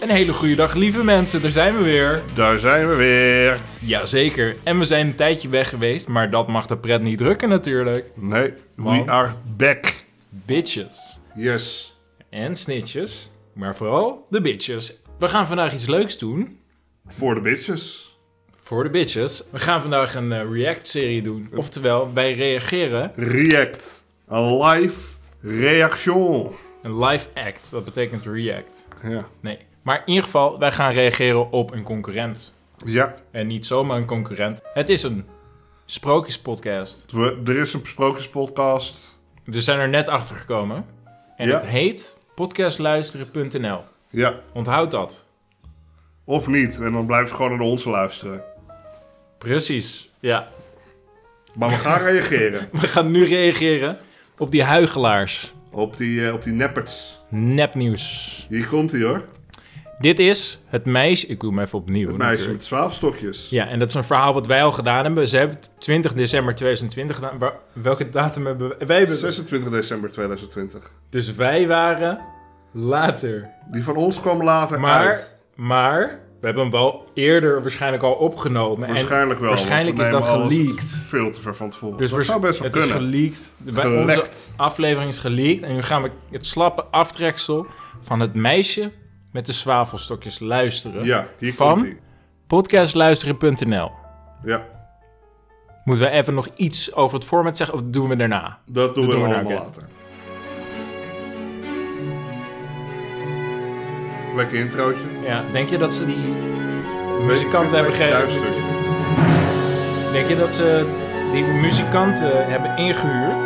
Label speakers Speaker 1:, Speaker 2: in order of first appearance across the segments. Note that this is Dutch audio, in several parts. Speaker 1: Een hele goede dag, lieve mensen. Daar zijn we weer.
Speaker 2: Daar zijn we weer.
Speaker 1: Jazeker. En we zijn een tijdje weg geweest, maar dat mag de pret niet drukken natuurlijk.
Speaker 2: Nee,
Speaker 1: Want?
Speaker 2: we are back.
Speaker 1: Bitches.
Speaker 2: Yes.
Speaker 1: En snitches. Maar vooral de bitches. We gaan vandaag iets leuks doen.
Speaker 2: Voor de bitches.
Speaker 1: Voor de bitches. We gaan vandaag een eh, react-serie doen. Oftewel, wij reageren.
Speaker 2: React. Een live reaction.
Speaker 1: Een live act. Dat betekent react.
Speaker 2: Ja.
Speaker 1: Nee. Maar in ieder geval, wij gaan reageren op een concurrent.
Speaker 2: Ja,
Speaker 1: En niet zomaar een concurrent. Het is een sprookjespodcast.
Speaker 2: we, er is een sprookjespodcast.
Speaker 1: We zijn er net achter gekomen. En
Speaker 2: Ja.
Speaker 1: het heet podcastluisteren.nl.
Speaker 2: Ja,
Speaker 1: Onthoud dat.
Speaker 2: of niet. En dan blijf je gewoon naar ons luisteren.
Speaker 1: Precies. Ja.
Speaker 2: Maar we gaan reageren
Speaker 1: We gaan nu reageren op die huigelaars.
Speaker 2: op die, eh, op die neppers.
Speaker 1: Nepnieuws.
Speaker 2: Hier komt hij hoor.
Speaker 1: Dit is het meisje. Ik doe hem even opnieuw.
Speaker 2: Het
Speaker 1: natuurlijk.
Speaker 2: meisje met zwaafstokjes.
Speaker 1: Ja, en dat is een verhaal wat wij al gedaan hebben. Ze hebben het 20 december 2020 gedaan. Wa- Welke datum hebben wij? wij hebben...
Speaker 2: 26 december 2020.
Speaker 1: Dus wij waren later.
Speaker 2: Die van ons kwam later
Speaker 1: Maar,
Speaker 2: uit.
Speaker 1: maar we hebben hem wel eerder waarschijnlijk al opgenomen. En
Speaker 2: Waarschijnlijk wel.
Speaker 1: waarschijnlijk
Speaker 2: want we
Speaker 1: is dat
Speaker 2: nemen alles
Speaker 1: geleakt.
Speaker 2: Veel te ver van tevoren.
Speaker 1: Dus
Speaker 2: Dus dat
Speaker 1: waarsch-
Speaker 2: zou best wel
Speaker 1: het
Speaker 2: kunnen.
Speaker 1: is geleakt. Bij onze
Speaker 2: Gelekt.
Speaker 1: aflevering is geleakt. En nu gaan we het slappe aftreksel van het meisje met de zwavelstokjes luisteren.
Speaker 2: Ja, hier
Speaker 1: Van?
Speaker 2: komt hij.
Speaker 1: Podcastluisteren.nl
Speaker 2: Ja,
Speaker 1: Moeten we even nog iets over het format zeggen? Of dat doen we daarna?
Speaker 2: dat doen we
Speaker 1: doen we
Speaker 2: allemaal
Speaker 1: nou,
Speaker 2: later. Lekker introotje.
Speaker 1: Ja, denk je dat ze die...
Speaker 2: Muzikanten
Speaker 1: Muzikanten hebben gegeven. Denk je dat ze die muzikanten hebben ingehuurd?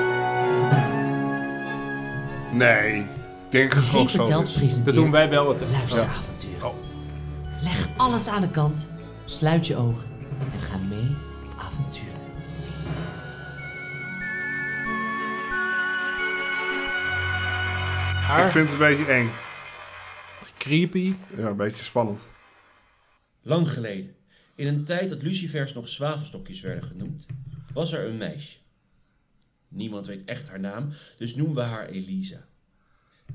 Speaker 2: Nee, ik denk dat het gewoon
Speaker 3: Geen
Speaker 2: zo
Speaker 3: verteld
Speaker 2: is.
Speaker 3: presenteert.
Speaker 1: Dat doen wij wel het.
Speaker 3: Luisteravontuur.
Speaker 2: Oh.
Speaker 3: Leg alles aan de kant, sluit je ogen en ga mee op avontuur.
Speaker 2: Ik
Speaker 1: Haar
Speaker 2: vind het een beetje eng.
Speaker 1: creepy.
Speaker 2: Ja, een beetje spannend.
Speaker 4: Lang geleden, in een tijd dat lucifers nog zwavelstokjes werden genoemd, was er een meisje. Niemand weet echt haar naam, dus noemen we haar Elisa.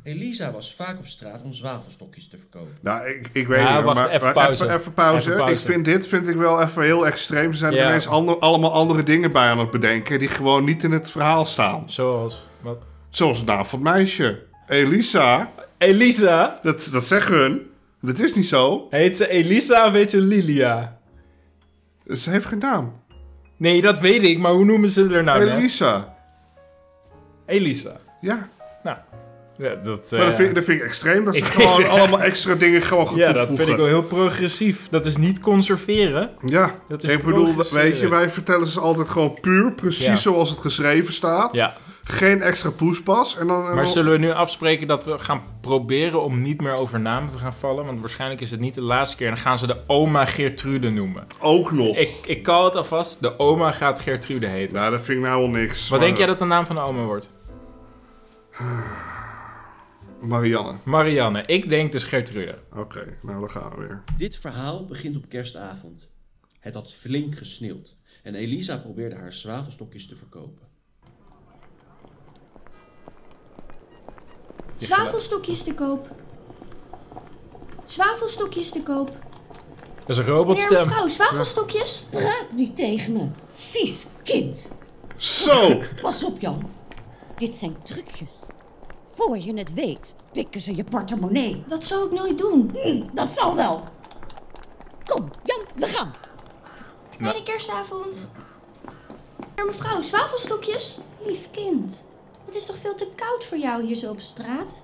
Speaker 4: Elisa was vaak op straat om zwavelstokjes te verkopen.
Speaker 2: Nou, ik, ik weet
Speaker 1: Ja,
Speaker 2: niet,
Speaker 1: wacht,
Speaker 2: maar,
Speaker 1: even
Speaker 2: maar
Speaker 1: pauze.
Speaker 2: Even, even pauze.
Speaker 1: Even pauze.
Speaker 2: Ik vind dit vind ik wel even heel extreem. Ze zijn
Speaker 1: Ja.
Speaker 2: er ineens ander- allemaal andere dingen bij aan het bedenken... die gewoon niet in het verhaal staan.
Speaker 1: Zoals... Wat?
Speaker 2: Zoals de naam van het meisje. Elisa,
Speaker 1: Elisa?
Speaker 2: dat, dat zeggen hun. Dat is niet zo.
Speaker 1: Heet ze Elisa of heet ze Lilia?
Speaker 2: Ze heeft geen naam.
Speaker 1: Nee, dat weet ik, maar hoe noemen ze haar nou? net?
Speaker 2: Elisa.
Speaker 1: Elisa.
Speaker 2: Ja.
Speaker 1: Nou, ja, dat,
Speaker 2: Maar
Speaker 1: eh,
Speaker 2: dat vind, ik- dat vind ik extreem. Dat ze
Speaker 1: Ik-
Speaker 2: gewoon allemaal extra dingen gewoon gaan
Speaker 1: ja, dat
Speaker 2: toevoegen.
Speaker 1: vind ik wel heel progressief. Dat is niet conserveren.
Speaker 2: Ja.
Speaker 1: Dat is
Speaker 2: ik bedoel,
Speaker 1: progresseren.
Speaker 2: weet je, wij vertellen ze altijd gewoon puur, precies
Speaker 1: Ja.
Speaker 2: zoals het geschreven staat.
Speaker 1: Ja.
Speaker 2: Geen extra poespas. En dan, en
Speaker 1: Maar
Speaker 2: dan-
Speaker 1: zullen we nu afspreken dat we gaan proberen om niet meer over namen te gaan vallen? Want waarschijnlijk is het niet de laatste keer. En dan gaan ze de oma Geertrude noemen.
Speaker 2: ook nog.
Speaker 1: Ik, ik call het alvast, de oma gaat Geertrude heten.
Speaker 2: Nou, dat vind ik nou wel niks.
Speaker 1: Wat
Speaker 2: Maar-
Speaker 1: denk jij dat de naam van de oma wordt?
Speaker 2: Marianne.
Speaker 1: Marianne. Ik denk dus Geertrude.
Speaker 2: Oké, nou dan gaan we weer.
Speaker 4: Dit verhaal begint op kerstavond. Het had flink gesneeuwd en Elisa probeerde haar zwavelstokjes te verkopen.
Speaker 5: Zwavelstokjes te koop. Zwavelstokjes te koop.
Speaker 1: Dat is een
Speaker 5: Meneer
Speaker 1: robotstem.
Speaker 5: mevrouw, zwavelstokjes?
Speaker 6: Praat niet tegen me, vies kind.
Speaker 2: Zo!
Speaker 6: Pas op, Jan. Dit zijn trucjes. Voor je het weet, pikken ze je portemonnee.
Speaker 5: Dat zou ik nooit doen.
Speaker 6: Hm, dat zal wel. Kom, Jan, we gaan.
Speaker 5: Fijne kerstavond. Meneer mevrouw, zwavelstokjes?
Speaker 7: Lief kind, het is toch veel te koud voor jou hier zo op straat?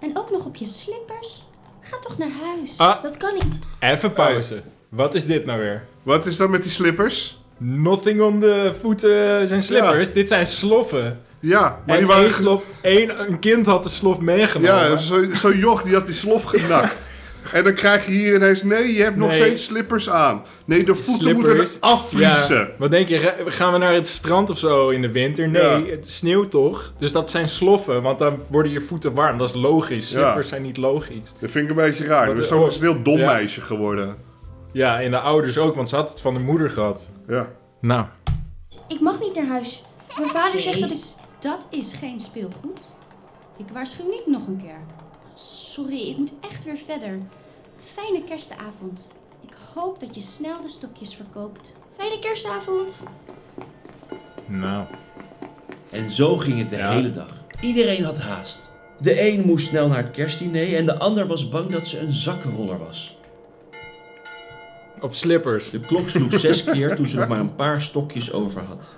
Speaker 7: En ook nog op je slippers? Ga toch naar huis.
Speaker 1: Ah,
Speaker 5: Dat kan niet.
Speaker 1: even pauze. Wat is dit nou weer?
Speaker 2: Wat is dat met die slippers?
Speaker 1: Nothing on the voeten zijn slippers.
Speaker 2: Ja.
Speaker 1: Dit zijn sloffen.
Speaker 2: Ja, maar
Speaker 1: en
Speaker 2: die waren...
Speaker 1: één
Speaker 2: ge-
Speaker 1: slof, één, een kind had de slof meegenomen.
Speaker 2: Ja, zo- zo'n joch die had die slof genakt. En dan krijg je hier ineens, nee, je hebt nog
Speaker 1: Nee.
Speaker 2: steeds slippers aan. Nee, de voeten
Speaker 1: Slippers.
Speaker 2: moeten afvriezen.
Speaker 1: Ja, wat denk je, ga- gaan we naar het strand of zo in de winter? Nee,
Speaker 2: Ja.
Speaker 1: het sneeuwt toch? Dus dat zijn sloffen, want dan worden je voeten warm. Dat is logisch.
Speaker 2: Ja.
Speaker 1: Slippers zijn niet logisch.
Speaker 2: Dat vind ik een beetje raar.
Speaker 1: Wat,
Speaker 2: Dat is
Speaker 1: eh,
Speaker 2: ook
Speaker 1: oh,
Speaker 2: een heel dom
Speaker 1: ja.
Speaker 2: meisje geworden.
Speaker 1: Ja, en de ouders ook, want ze had het van de moeder gehad.
Speaker 2: Ja.
Speaker 1: Nou,
Speaker 5: Ik mag niet naar huis. Mijn vader zegt dat ik...
Speaker 7: Kees, dat is geen speelgoed. Ik waarschuw niet nog een keer. Sorry, ik moet echt weer verder. Fijne kerstavond. Ik hoop dat je snel de stokjes verkoopt.
Speaker 5: Fijne kerstavond.
Speaker 1: Nou,
Speaker 4: En zo ging het de
Speaker 1: Ja.
Speaker 4: hele dag. Iedereen had haast. De een moest snel naar het kerstdiner en de ander was bang dat ze een zakkenroller was.
Speaker 1: op slippers.
Speaker 4: De klok sloeg zes keer toen ze nog maar een paar stokjes over had.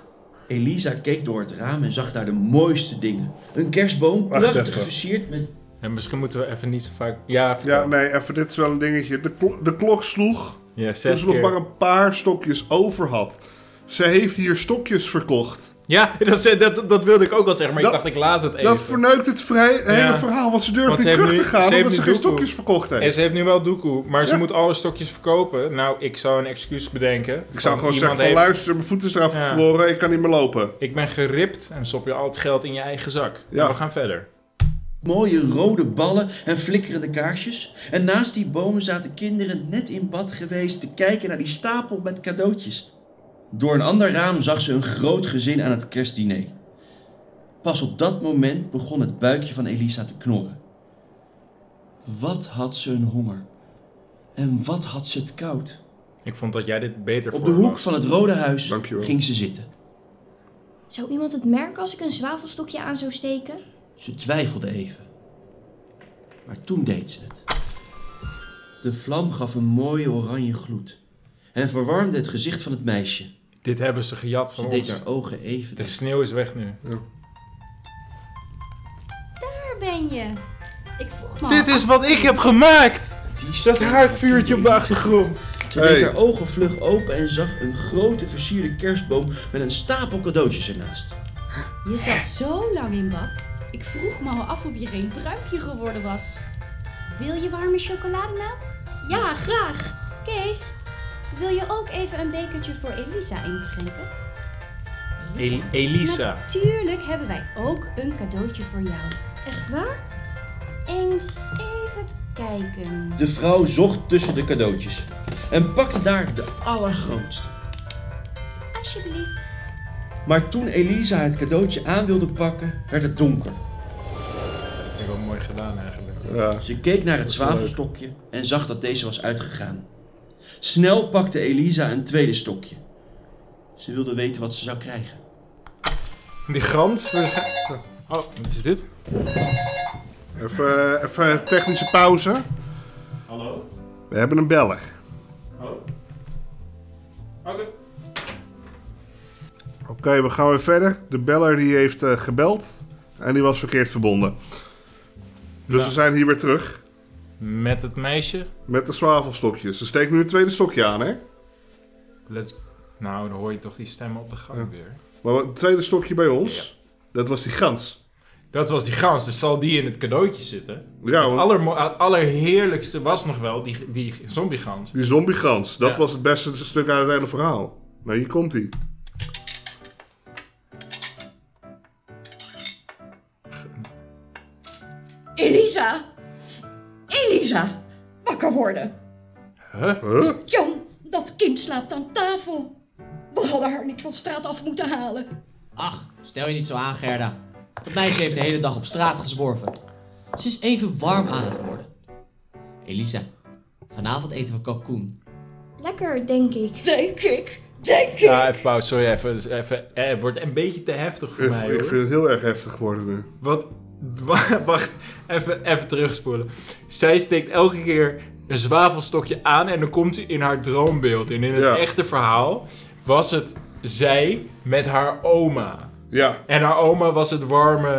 Speaker 4: Elisa keek door het raam en zag daar de mooiste dingen. Een kerstboom,
Speaker 2: Wacht
Speaker 4: prachtig
Speaker 2: even.
Speaker 4: versierd met...
Speaker 1: En misschien moeten we even niet zo vaak... Ja,
Speaker 2: Ja,
Speaker 1: vertel.
Speaker 2: nee, even, dit is wel een dingetje. De, klo- de klok sloeg
Speaker 1: ja
Speaker 2: toen
Speaker 1: zes
Speaker 2: ze nog
Speaker 1: keer.
Speaker 2: maar een paar stokjes over had. Ze heeft hier stokjes verkocht.
Speaker 1: Ja, dat, zei- dat, dat wilde ik ook al zeggen, maar
Speaker 2: Dat-
Speaker 1: ik dacht ik laat het even.
Speaker 2: Dat verneukt het vrij- hele
Speaker 1: Ja.
Speaker 2: verhaal, want ze durft
Speaker 1: Want
Speaker 2: niet
Speaker 1: ze heeft
Speaker 2: terug
Speaker 1: nu-
Speaker 2: te gaan
Speaker 1: ze heeft
Speaker 2: omdat
Speaker 1: nu
Speaker 2: ze geen
Speaker 1: doekoe.
Speaker 2: stokjes verkocht
Speaker 1: En
Speaker 2: heeft.
Speaker 1: ze heeft nu wel doekoe, maar ze
Speaker 2: Ja.
Speaker 1: moet alle stokjes verkopen. Nou, ik zou een excuus bedenken.
Speaker 2: Ik zou gewoon
Speaker 1: Oh, Iemand
Speaker 2: zeggen van
Speaker 1: heeft-
Speaker 2: luister, mijn voet is eraf
Speaker 1: Ja.
Speaker 2: verloren, ik kan niet meer lopen.
Speaker 1: Ik ben geript en stop je al het geld in je eigen zak.
Speaker 2: Ja.
Speaker 1: We gaan verder.
Speaker 4: Mooie rode ballen en flikkerende kaarsjes. En naast die bomen zaten kinderen net in bad geweest te kijken naar die stapel met cadeautjes. Door een ander raam zag ze een groot gezin aan het kerstdiner. Pas op dat moment begon het buikje van Elisa te knorren. Wat had ze een honger? En wat had ze het koud?
Speaker 1: Ik vond dat jij dit beter
Speaker 4: Op de
Speaker 1: voor
Speaker 4: hoek
Speaker 1: was.
Speaker 4: van het Rode Huis
Speaker 2: Dankjewel.
Speaker 4: ging ze zitten.
Speaker 5: Zou iemand het merken als ik een zwavelstokje aan zou steken?
Speaker 4: Ze twijfelde even. Maar toen deed ze het. De vlam gaf een mooie oranje gloed en verwarmde het gezicht van het meisje.
Speaker 1: Dit hebben ze gejat
Speaker 4: Ze
Speaker 1: van
Speaker 4: deed
Speaker 1: ons.
Speaker 4: haar ogen even
Speaker 1: De
Speaker 4: dicht.
Speaker 1: sneeuw is weg nu.
Speaker 2: Nou.
Speaker 7: Waar ben je? Ik vroeg me
Speaker 1: Dit
Speaker 7: al.
Speaker 1: is wat ik heb gemaakt!
Speaker 4: Die
Speaker 1: Dat
Speaker 4: sterke
Speaker 1: haardvuurtje op de achtergrond.
Speaker 4: Ze deed
Speaker 2: Hey.
Speaker 4: haar ogen vlug open en zag een grote versierde kerstboom met een stapel cadeautjes ernaast.
Speaker 7: Je zat zo lang in bad. Ik vroeg me al af of je geen pruimpje geworden was.
Speaker 5: Wil je warme chocolademelk? Ja, graag.
Speaker 7: Kees, wil je ook even een bekertje voor Elisa inschenken?
Speaker 1: El- Elisa.
Speaker 7: Natuurlijk hebben wij ook een cadeautje voor jou.
Speaker 5: Echt waar?
Speaker 7: Eens even kijken.
Speaker 4: De vrouw zocht tussen de cadeautjes en pakte daar de allergrootste.
Speaker 7: Alsjeblieft.
Speaker 4: Maar toen Elisa het cadeautje aan wilde pakken, werd het donker.
Speaker 1: Dat heb ik wel mooi gedaan eigenlijk.
Speaker 2: Ja.
Speaker 4: Ze keek naar het zwavelstokje en zag dat deze was uitgegaan. Snel pakte Elisa een tweede stokje. Ze wilde weten wat ze zou krijgen.
Speaker 1: Die grans. we gaan- Oh, wat is dit?
Speaker 2: Even, even technische pauze.
Speaker 1: Hallo?
Speaker 2: We hebben een beller.
Speaker 1: Hallo? Oké.
Speaker 2: Oké, we gaan weer verder. De beller die heeft eh, gebeld en die was verkeerd verbonden. Dus
Speaker 1: Ja.
Speaker 2: we zijn hier weer terug
Speaker 1: Met het meisje.
Speaker 2: met de zwavelstokjes. Ze steekt nu het tweede stokje aan, hè?
Speaker 1: Let's... Nou, dan hoor je toch die stemmen op de gang weer.
Speaker 2: Maar wat- het tweede stokje bij ons, dat was die gans.
Speaker 1: Dat was die gans, dus zal die in het cadeautje zitten.
Speaker 2: Ja,
Speaker 1: Het,
Speaker 2: want
Speaker 1: allermo- het allerheerlijkste was nog wel die, die zombiegans.
Speaker 2: die zombiegans, dat
Speaker 1: Ja.
Speaker 2: was het beste stuk uit het hele verhaal. Nou, hier komt hij.
Speaker 6: Elisa! Elisa! Wakker worden!
Speaker 1: Huh?
Speaker 2: Huh?
Speaker 6: Jan, dat kind slaapt aan tafel. We hadden haar niet van straat af moeten halen.
Speaker 3: Ach, stel je niet zo aan, Gerda. Dat meisje heeft de hele dag op straat gezworven. Ze is even warm aan het worden. Elisa, vanavond eten we kalkoen.
Speaker 5: Lekker, denk ik.
Speaker 6: Denk ik, denk ik.
Speaker 1: Ja, even pauze, sorry, even, dus even, eh, het wordt een beetje te heftig voor
Speaker 2: Ik,
Speaker 1: mij
Speaker 2: ik
Speaker 1: hoor.
Speaker 2: vind het heel erg heftig worden nu.
Speaker 1: Wat, wa- wacht, even, even terugspoelen. Zij steekt elke keer een zwavelstokje aan en dan komt hij in haar droombeeld. En in het
Speaker 2: Ja.
Speaker 1: echte verhaal was het zij met haar oma.
Speaker 2: Ja,
Speaker 1: En haar oma was het warme,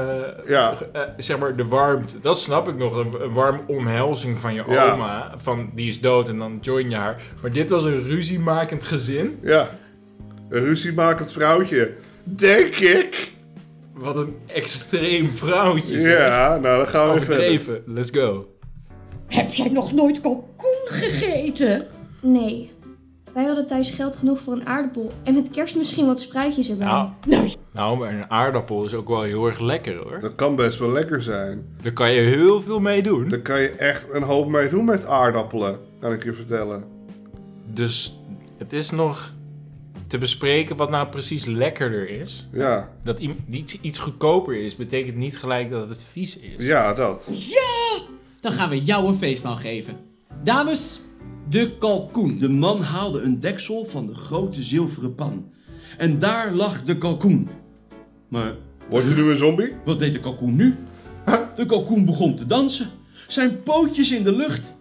Speaker 2: Ja.
Speaker 1: eh, zeg maar de warmte. Dat snap ik nog, een, een warme omhelzing van je
Speaker 2: Ja.
Speaker 1: oma. Van die is dood en dan join je haar. Maar dit was een ruziemakend gezin.
Speaker 2: ja. Een ruziemakend vrouwtje. Denk ik.
Speaker 1: Wat een extreem vrouwtje. zeg.
Speaker 2: Ja, nou dan gaan we weer verder.
Speaker 1: Overdreven, let's go.
Speaker 6: Heb jij nog nooit kalkoen gegeten?
Speaker 5: Nee. Wij hadden thuis geld genoeg voor een aardappel. En met kerst misschien wat spruitjes erbij.
Speaker 1: Nou,
Speaker 6: Nou,
Speaker 1: nou, maar een aardappel is ook wel heel erg lekker hoor.
Speaker 2: Dat kan best wel lekker zijn.
Speaker 1: Daar kan je heel veel mee doen.
Speaker 2: Daar kan je echt een hoop mee doen met aardappelen, kan ik je vertellen.
Speaker 1: Dus het is nog te bespreken wat nou precies lekkerder is.
Speaker 2: Ja,
Speaker 1: Dat i- iets, iets goedkoper is, betekent niet gelijk dat het vies is.
Speaker 2: ja dat.
Speaker 3: dan gaan we jou een feestmaal geven. Dames, de kalkoen.
Speaker 4: De man haalde een deksel van de grote zilveren pan. En daar lag de kalkoen. Maar
Speaker 2: Word je nu een zombie?
Speaker 4: Wat deed de kalkoen nu? De kalkoen begon te dansen. Zijn pootjes in de lucht.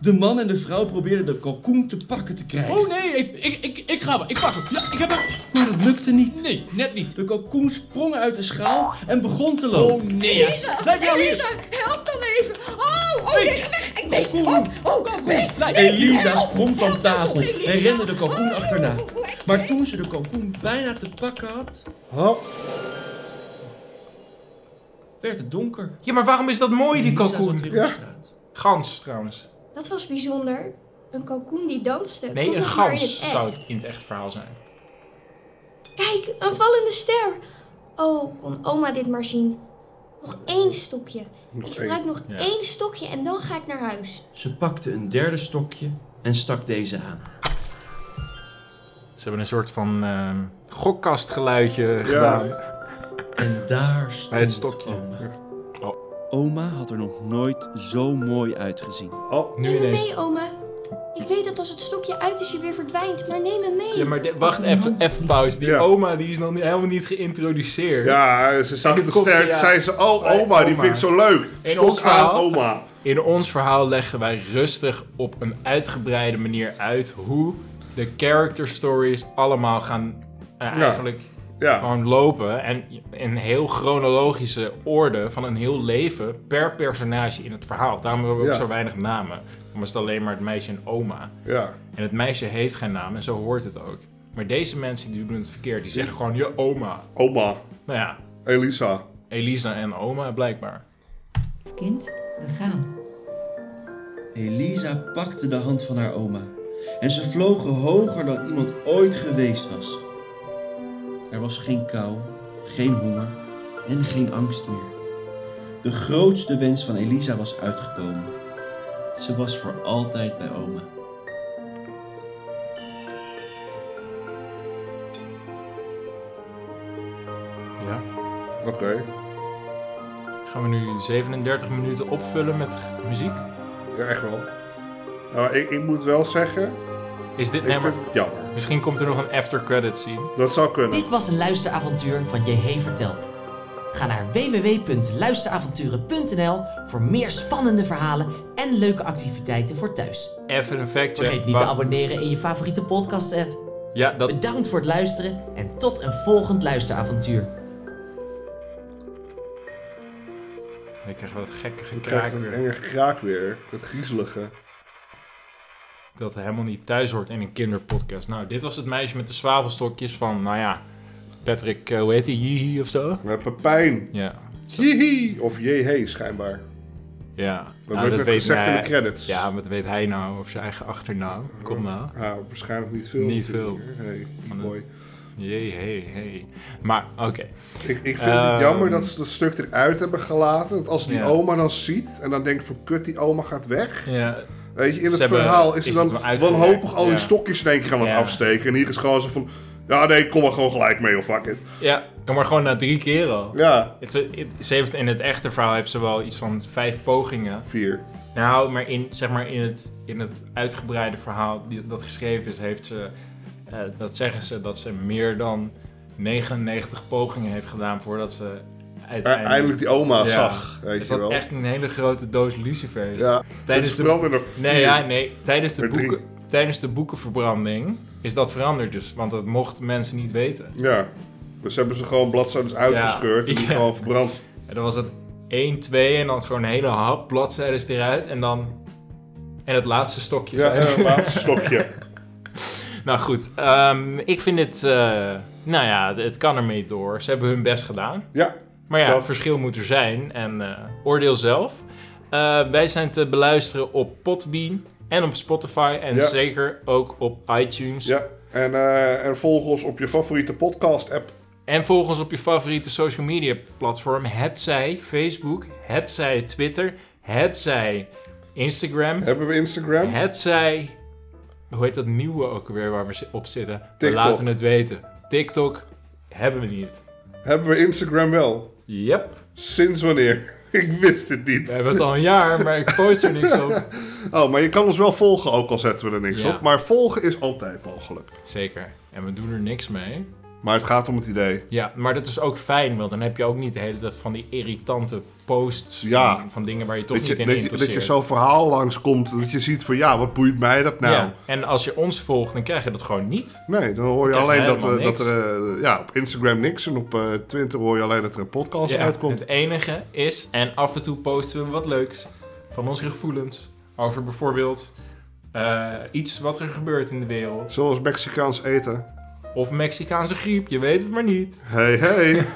Speaker 4: De man en de vrouw probeerden de kalkoen te pakken te krijgen.
Speaker 8: Oh nee, ik, ik, ik, ik ga wel. Ik pak hem. Ja, ik heb hem.
Speaker 4: Maar dat lukte niet.
Speaker 8: Nee, net niet.
Speaker 4: De kalkoen sprong uit de schaal en begon te lopen.
Speaker 8: Oh nee.
Speaker 6: Elisa,
Speaker 8: Blijf jou hier.
Speaker 6: Elisa, help dan even. Oh, oh, nee, ga weg. Ik beest. Oh, oh, ik beest.
Speaker 8: Blijf.
Speaker 6: Nee,
Speaker 4: Elisa
Speaker 6: help.
Speaker 4: sprong van
Speaker 6: Help mij
Speaker 4: tafel
Speaker 6: toch,
Speaker 4: en
Speaker 6: Elisa.
Speaker 4: rende de kalkoen
Speaker 6: Oh,
Speaker 4: achterna.
Speaker 6: oh, oh, ik
Speaker 4: Maar
Speaker 6: beest.
Speaker 4: toen ze de kalkoen bijna te pakken had,
Speaker 2: Hop.
Speaker 4: werd het donker.
Speaker 1: Ja, maar waarom is dat mooi, die
Speaker 4: Elisa zat
Speaker 1: kalkoen?
Speaker 4: weer op straat.
Speaker 1: Gans, trouwens.
Speaker 5: Dat was bijzonder. Een kalkoen die danste.
Speaker 1: Nee,
Speaker 5: Kom
Speaker 1: een
Speaker 5: nog maar in
Speaker 1: gans
Speaker 5: het
Speaker 1: zou
Speaker 5: echt.
Speaker 1: het in het echt verhaal zijn.
Speaker 5: Kijk, een vallende ster. Oh, kon oma dit maar zien. Nog één stokje. Ik gebruik nog
Speaker 1: Ja.
Speaker 5: één stokje en dan ga ik naar huis.
Speaker 4: Ze pakte een derde stokje en stak deze aan.
Speaker 1: Ze hebben een soort van ehm, gokkastgeluidje gedaan.
Speaker 4: En daar stond
Speaker 1: Bij het stokje.
Speaker 4: oma. Oma had er nog nooit zo mooi uitgezien.
Speaker 2: Oh,
Speaker 1: Nu
Speaker 5: Neem me
Speaker 1: ineens.
Speaker 5: mee, oma. Ik weet dat als het stokje uit is je weer verdwijnt, maar neem me mee.
Speaker 1: Ja, maar de- wacht even, even pauze. Die
Speaker 2: Ja.
Speaker 1: oma die is nog niet, helemaal niet geïntroduceerd.
Speaker 2: ja, ze zag
Speaker 1: En
Speaker 2: de
Speaker 1: dan komt
Speaker 2: ster.
Speaker 1: hij, ja.
Speaker 2: zei ze, oh,
Speaker 1: Bij
Speaker 2: oma, die
Speaker 1: oma.
Speaker 2: vind ik zo leuk.
Speaker 1: In
Speaker 2: Stok
Speaker 1: ons
Speaker 2: aan
Speaker 1: verhaal.
Speaker 2: oma.
Speaker 1: In ons verhaal leggen wij rustig op een uitgebreide manier uit hoe de character stories allemaal gaan eh,
Speaker 2: Ja.
Speaker 1: eigenlijk
Speaker 2: Ja,
Speaker 1: gewoon lopen. En in heel chronologische orde van een heel leven per personage in het verhaal. Daarom hebben we ook
Speaker 2: Ja.
Speaker 1: zo weinig namen. Dan is het alleen maar het meisje en oma.
Speaker 2: ja.
Speaker 1: En het meisje heeft geen naam en zo hoort het ook. Maar deze mensen die doen het verkeerd. Die zeggen gewoon je oma.
Speaker 2: Oma.
Speaker 1: Nou ja,
Speaker 2: Elisa.
Speaker 1: Elisa en oma blijkbaar.
Speaker 9: Kind, we gaan.
Speaker 4: Elisa pakte de hand van haar oma en ze vlogen hoger dan iemand ooit geweest was. Er was geen kou, geen honger en geen angst meer. De grootste wens van Elisa was uitgekomen. Ze was voor altijd bij oma.
Speaker 1: Ja.
Speaker 2: Oké.
Speaker 1: Gaan we nu 37 minuten opvullen met muziek?
Speaker 2: Ja, echt wel. Nou, maar ik, ik moet wel zeggen,
Speaker 1: Is dit
Speaker 2: ik
Speaker 1: nummer?
Speaker 2: vind het jammer.
Speaker 1: Misschien komt er nog een after credit scene.
Speaker 2: Dat zou kunnen.
Speaker 3: Dit was een luisteravontuur van JH Verteld. Ga naar www.luisteravonturen.nl voor meer spannende verhalen en leuke activiteiten voor thuis.
Speaker 1: Even een fact check.
Speaker 3: Vergeet niet te abonneren in je favoriete podcast app.
Speaker 1: Ja, dat
Speaker 3: Bedankt voor het luisteren en tot een volgend luisteravontuur.
Speaker 1: Ik krijg dat gekke
Speaker 2: Ik krijg
Speaker 1: gekraak
Speaker 2: dat
Speaker 1: weer.
Speaker 2: enge kraak weer. Dat griezelige.
Speaker 1: Dat helemaal niet thuis hoort in een kinderpodcast. Nou, dit was het meisje met de zwavelstokjes van, nou ja, Patrick, eh, hoe heet hij, Jihi of zo?
Speaker 2: Met Pepijn.
Speaker 1: Ja,
Speaker 2: Jihi. Of jehe, schijnbaar.
Speaker 1: ja. Nou,
Speaker 2: Dat wordt net
Speaker 1: weet
Speaker 2: gezegd in
Speaker 1: hij-
Speaker 2: de credits.
Speaker 1: Ja, maar dat weet hij nou, of zijn eigen achternaam. Kom nou.
Speaker 2: Ja, Ah, waarschijnlijk niet veel.
Speaker 1: Niet
Speaker 2: natuurlijk. Hey, mooi.
Speaker 1: Jee, hé, hé. Maar, oké.
Speaker 2: Ik, ik vind het
Speaker 1: Ehm.
Speaker 2: jammer dat ze dat stuk eruit hebben gelaten. Want als die
Speaker 1: Ja.
Speaker 2: oma dan ziet en dan denkt van kut, die oma gaat weg.
Speaker 1: Ja,
Speaker 2: Weet je, in het
Speaker 1: Ze hebben-
Speaker 2: verhaal is
Speaker 1: is
Speaker 2: ze
Speaker 1: het
Speaker 2: dan
Speaker 1: wel uitgewerkt,
Speaker 2: wanhopig al die
Speaker 1: ja.
Speaker 2: stokjes in één keer aan het
Speaker 1: Ja.
Speaker 2: afsteken. En hier is gewoon zo van, ja nee, kom er gewoon gelijk mee of fuck it.
Speaker 1: ja, maar gewoon na drie keer al.
Speaker 2: Ja,
Speaker 1: Het, het- ze heeft, in het echte verhaal heeft ze wel iets van vijf pogingen.
Speaker 2: vier.
Speaker 1: Nou, maar in, zeg maar in, het, in het uitgebreide verhaal die, dat geschreven is, heeft ze, eh, dat zeggen ze, dat ze meer dan 99 pogingen heeft gedaan voordat ze uiteindelijk...
Speaker 2: Eindelijk die oma
Speaker 1: Ja.
Speaker 2: zag, weet
Speaker 1: is
Speaker 2: je
Speaker 1: dat
Speaker 2: wel.
Speaker 1: echt een hele grote doos lucifers.
Speaker 2: Ja,
Speaker 1: Tijdens
Speaker 2: het is
Speaker 1: de,
Speaker 2: wel weer een vier.
Speaker 1: nee, ja, nee, tijdens de,
Speaker 2: Met drie.
Speaker 1: boeken, tijdens de boekenverbranding is dat veranderd dus, want dat mochten mensen niet weten.
Speaker 2: Ja. Dus hebben ze gewoon bladzijden uitgescheurd en die
Speaker 1: Ja.
Speaker 2: gewoon verbrand.
Speaker 1: En dan was het 1, 2 en dan gewoon een hele hap bladzijden eruit en dan... En het laatste stokje.
Speaker 2: Ja, en
Speaker 1: zei ze.
Speaker 2: een laatste stokje.
Speaker 1: Nou goed, ehm, ik vind het. eh, nou ja, het, het kan ermee door. Ze hebben hun best gedaan.
Speaker 2: Ja,
Speaker 1: Maar ja,
Speaker 2: Dat-
Speaker 1: het verschil moet er zijn. En eh, oordeel zelf. Eh, wij zijn te beluisteren op Podbean en op Spotify. En
Speaker 2: Ja.
Speaker 1: zeker ook op iTunes.
Speaker 2: ja. En, eh, en volg ons op je favoriete podcast-app.
Speaker 1: En volg ons op je favoriete social media platform. Het zij Facebook, het zij Twitter, het zij Instagram.
Speaker 2: Hebben we Instagram?
Speaker 1: Het zij. Hoe heet dat nieuwe ook weer waar we zi- op zitten? We
Speaker 2: TikTok.
Speaker 1: laten het weten. TikTok hebben we niet.
Speaker 2: Hebben we Instagram wel?
Speaker 1: Yep.
Speaker 2: Sinds wanneer? Ik wist het
Speaker 1: We
Speaker 2: niet.
Speaker 1: hebben het al een jaar, maar ik post er niks op.
Speaker 2: Oh, maar je kan ons wel volgen, ook al zetten we er niks
Speaker 1: Ja.
Speaker 2: op. Maar volgen is altijd mogelijk.
Speaker 1: Zeker. En we doen er niks mee.
Speaker 2: Maar het gaat om het idee.
Speaker 1: Ja, maar dat is ook fijn, want dan heb je ook niet de hele tijd van die irritante posts van-
Speaker 2: Ja.
Speaker 1: van, dingen waar je toch
Speaker 2: Dat je,
Speaker 1: niet in
Speaker 2: dat, je, dat
Speaker 1: interesseert.
Speaker 2: je zo'n verhaal langskomt, dat je ziet van ja, wat boeit mij dat nou?
Speaker 1: Ja, En als je ons volgt, dan krijg je dat gewoon niet.
Speaker 2: Nee, dan hoor je
Speaker 1: Krijg je
Speaker 2: alleen dat,
Speaker 1: helemaal
Speaker 2: eh,
Speaker 1: niks.
Speaker 2: dat er eh, ja, op Instagram niks en op eh, Twitter hoor je alleen dat er een podcast
Speaker 1: Ja,
Speaker 2: uitkomt.
Speaker 1: Het enige is, en af en toe posten we wat leuks van onze gevoelens. Over bijvoorbeeld eh, iets wat er gebeurt in de wereld.
Speaker 2: Zoals Mexicaans eten.
Speaker 1: Of Mexicaanse griep, je weet het maar niet.
Speaker 2: Hey, hey.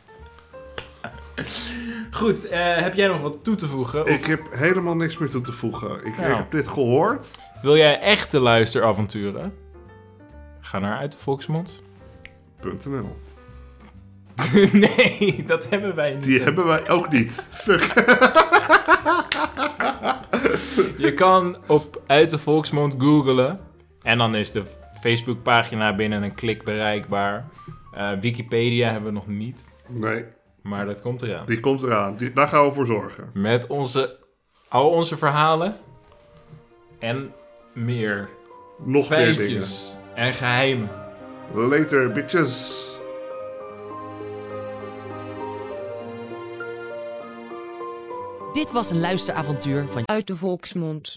Speaker 1: Goed, eh, heb jij nog wat toe te voegen?
Speaker 2: ik heb helemaal niks meer toe te voegen. Ik,
Speaker 1: Nou.
Speaker 2: ik heb dit gehoord.
Speaker 1: Wil jij echte luisteravonturen? Ga naar uit de Volksmond.
Speaker 2: .nl.
Speaker 1: nee, dat hebben wij niet.
Speaker 2: Die hebben wij ook niet. Fuck.
Speaker 1: Je kan op uit de Volksmond googlen. En dan is de Facebookpagina binnen een klik bereikbaar. Eh, Wikipedia hebben we nog niet,
Speaker 2: Nee,
Speaker 1: maar dat komt eraan.
Speaker 2: die komt eraan. Die, daar gaan we voor zorgen.
Speaker 1: Met onze, al onze verhalen en meer
Speaker 2: Nog meer dingen.
Speaker 1: feitjes en geheimen.
Speaker 2: Later, bitches.
Speaker 10: Dit was een luisteravontuur van
Speaker 6: Uit de volksmond.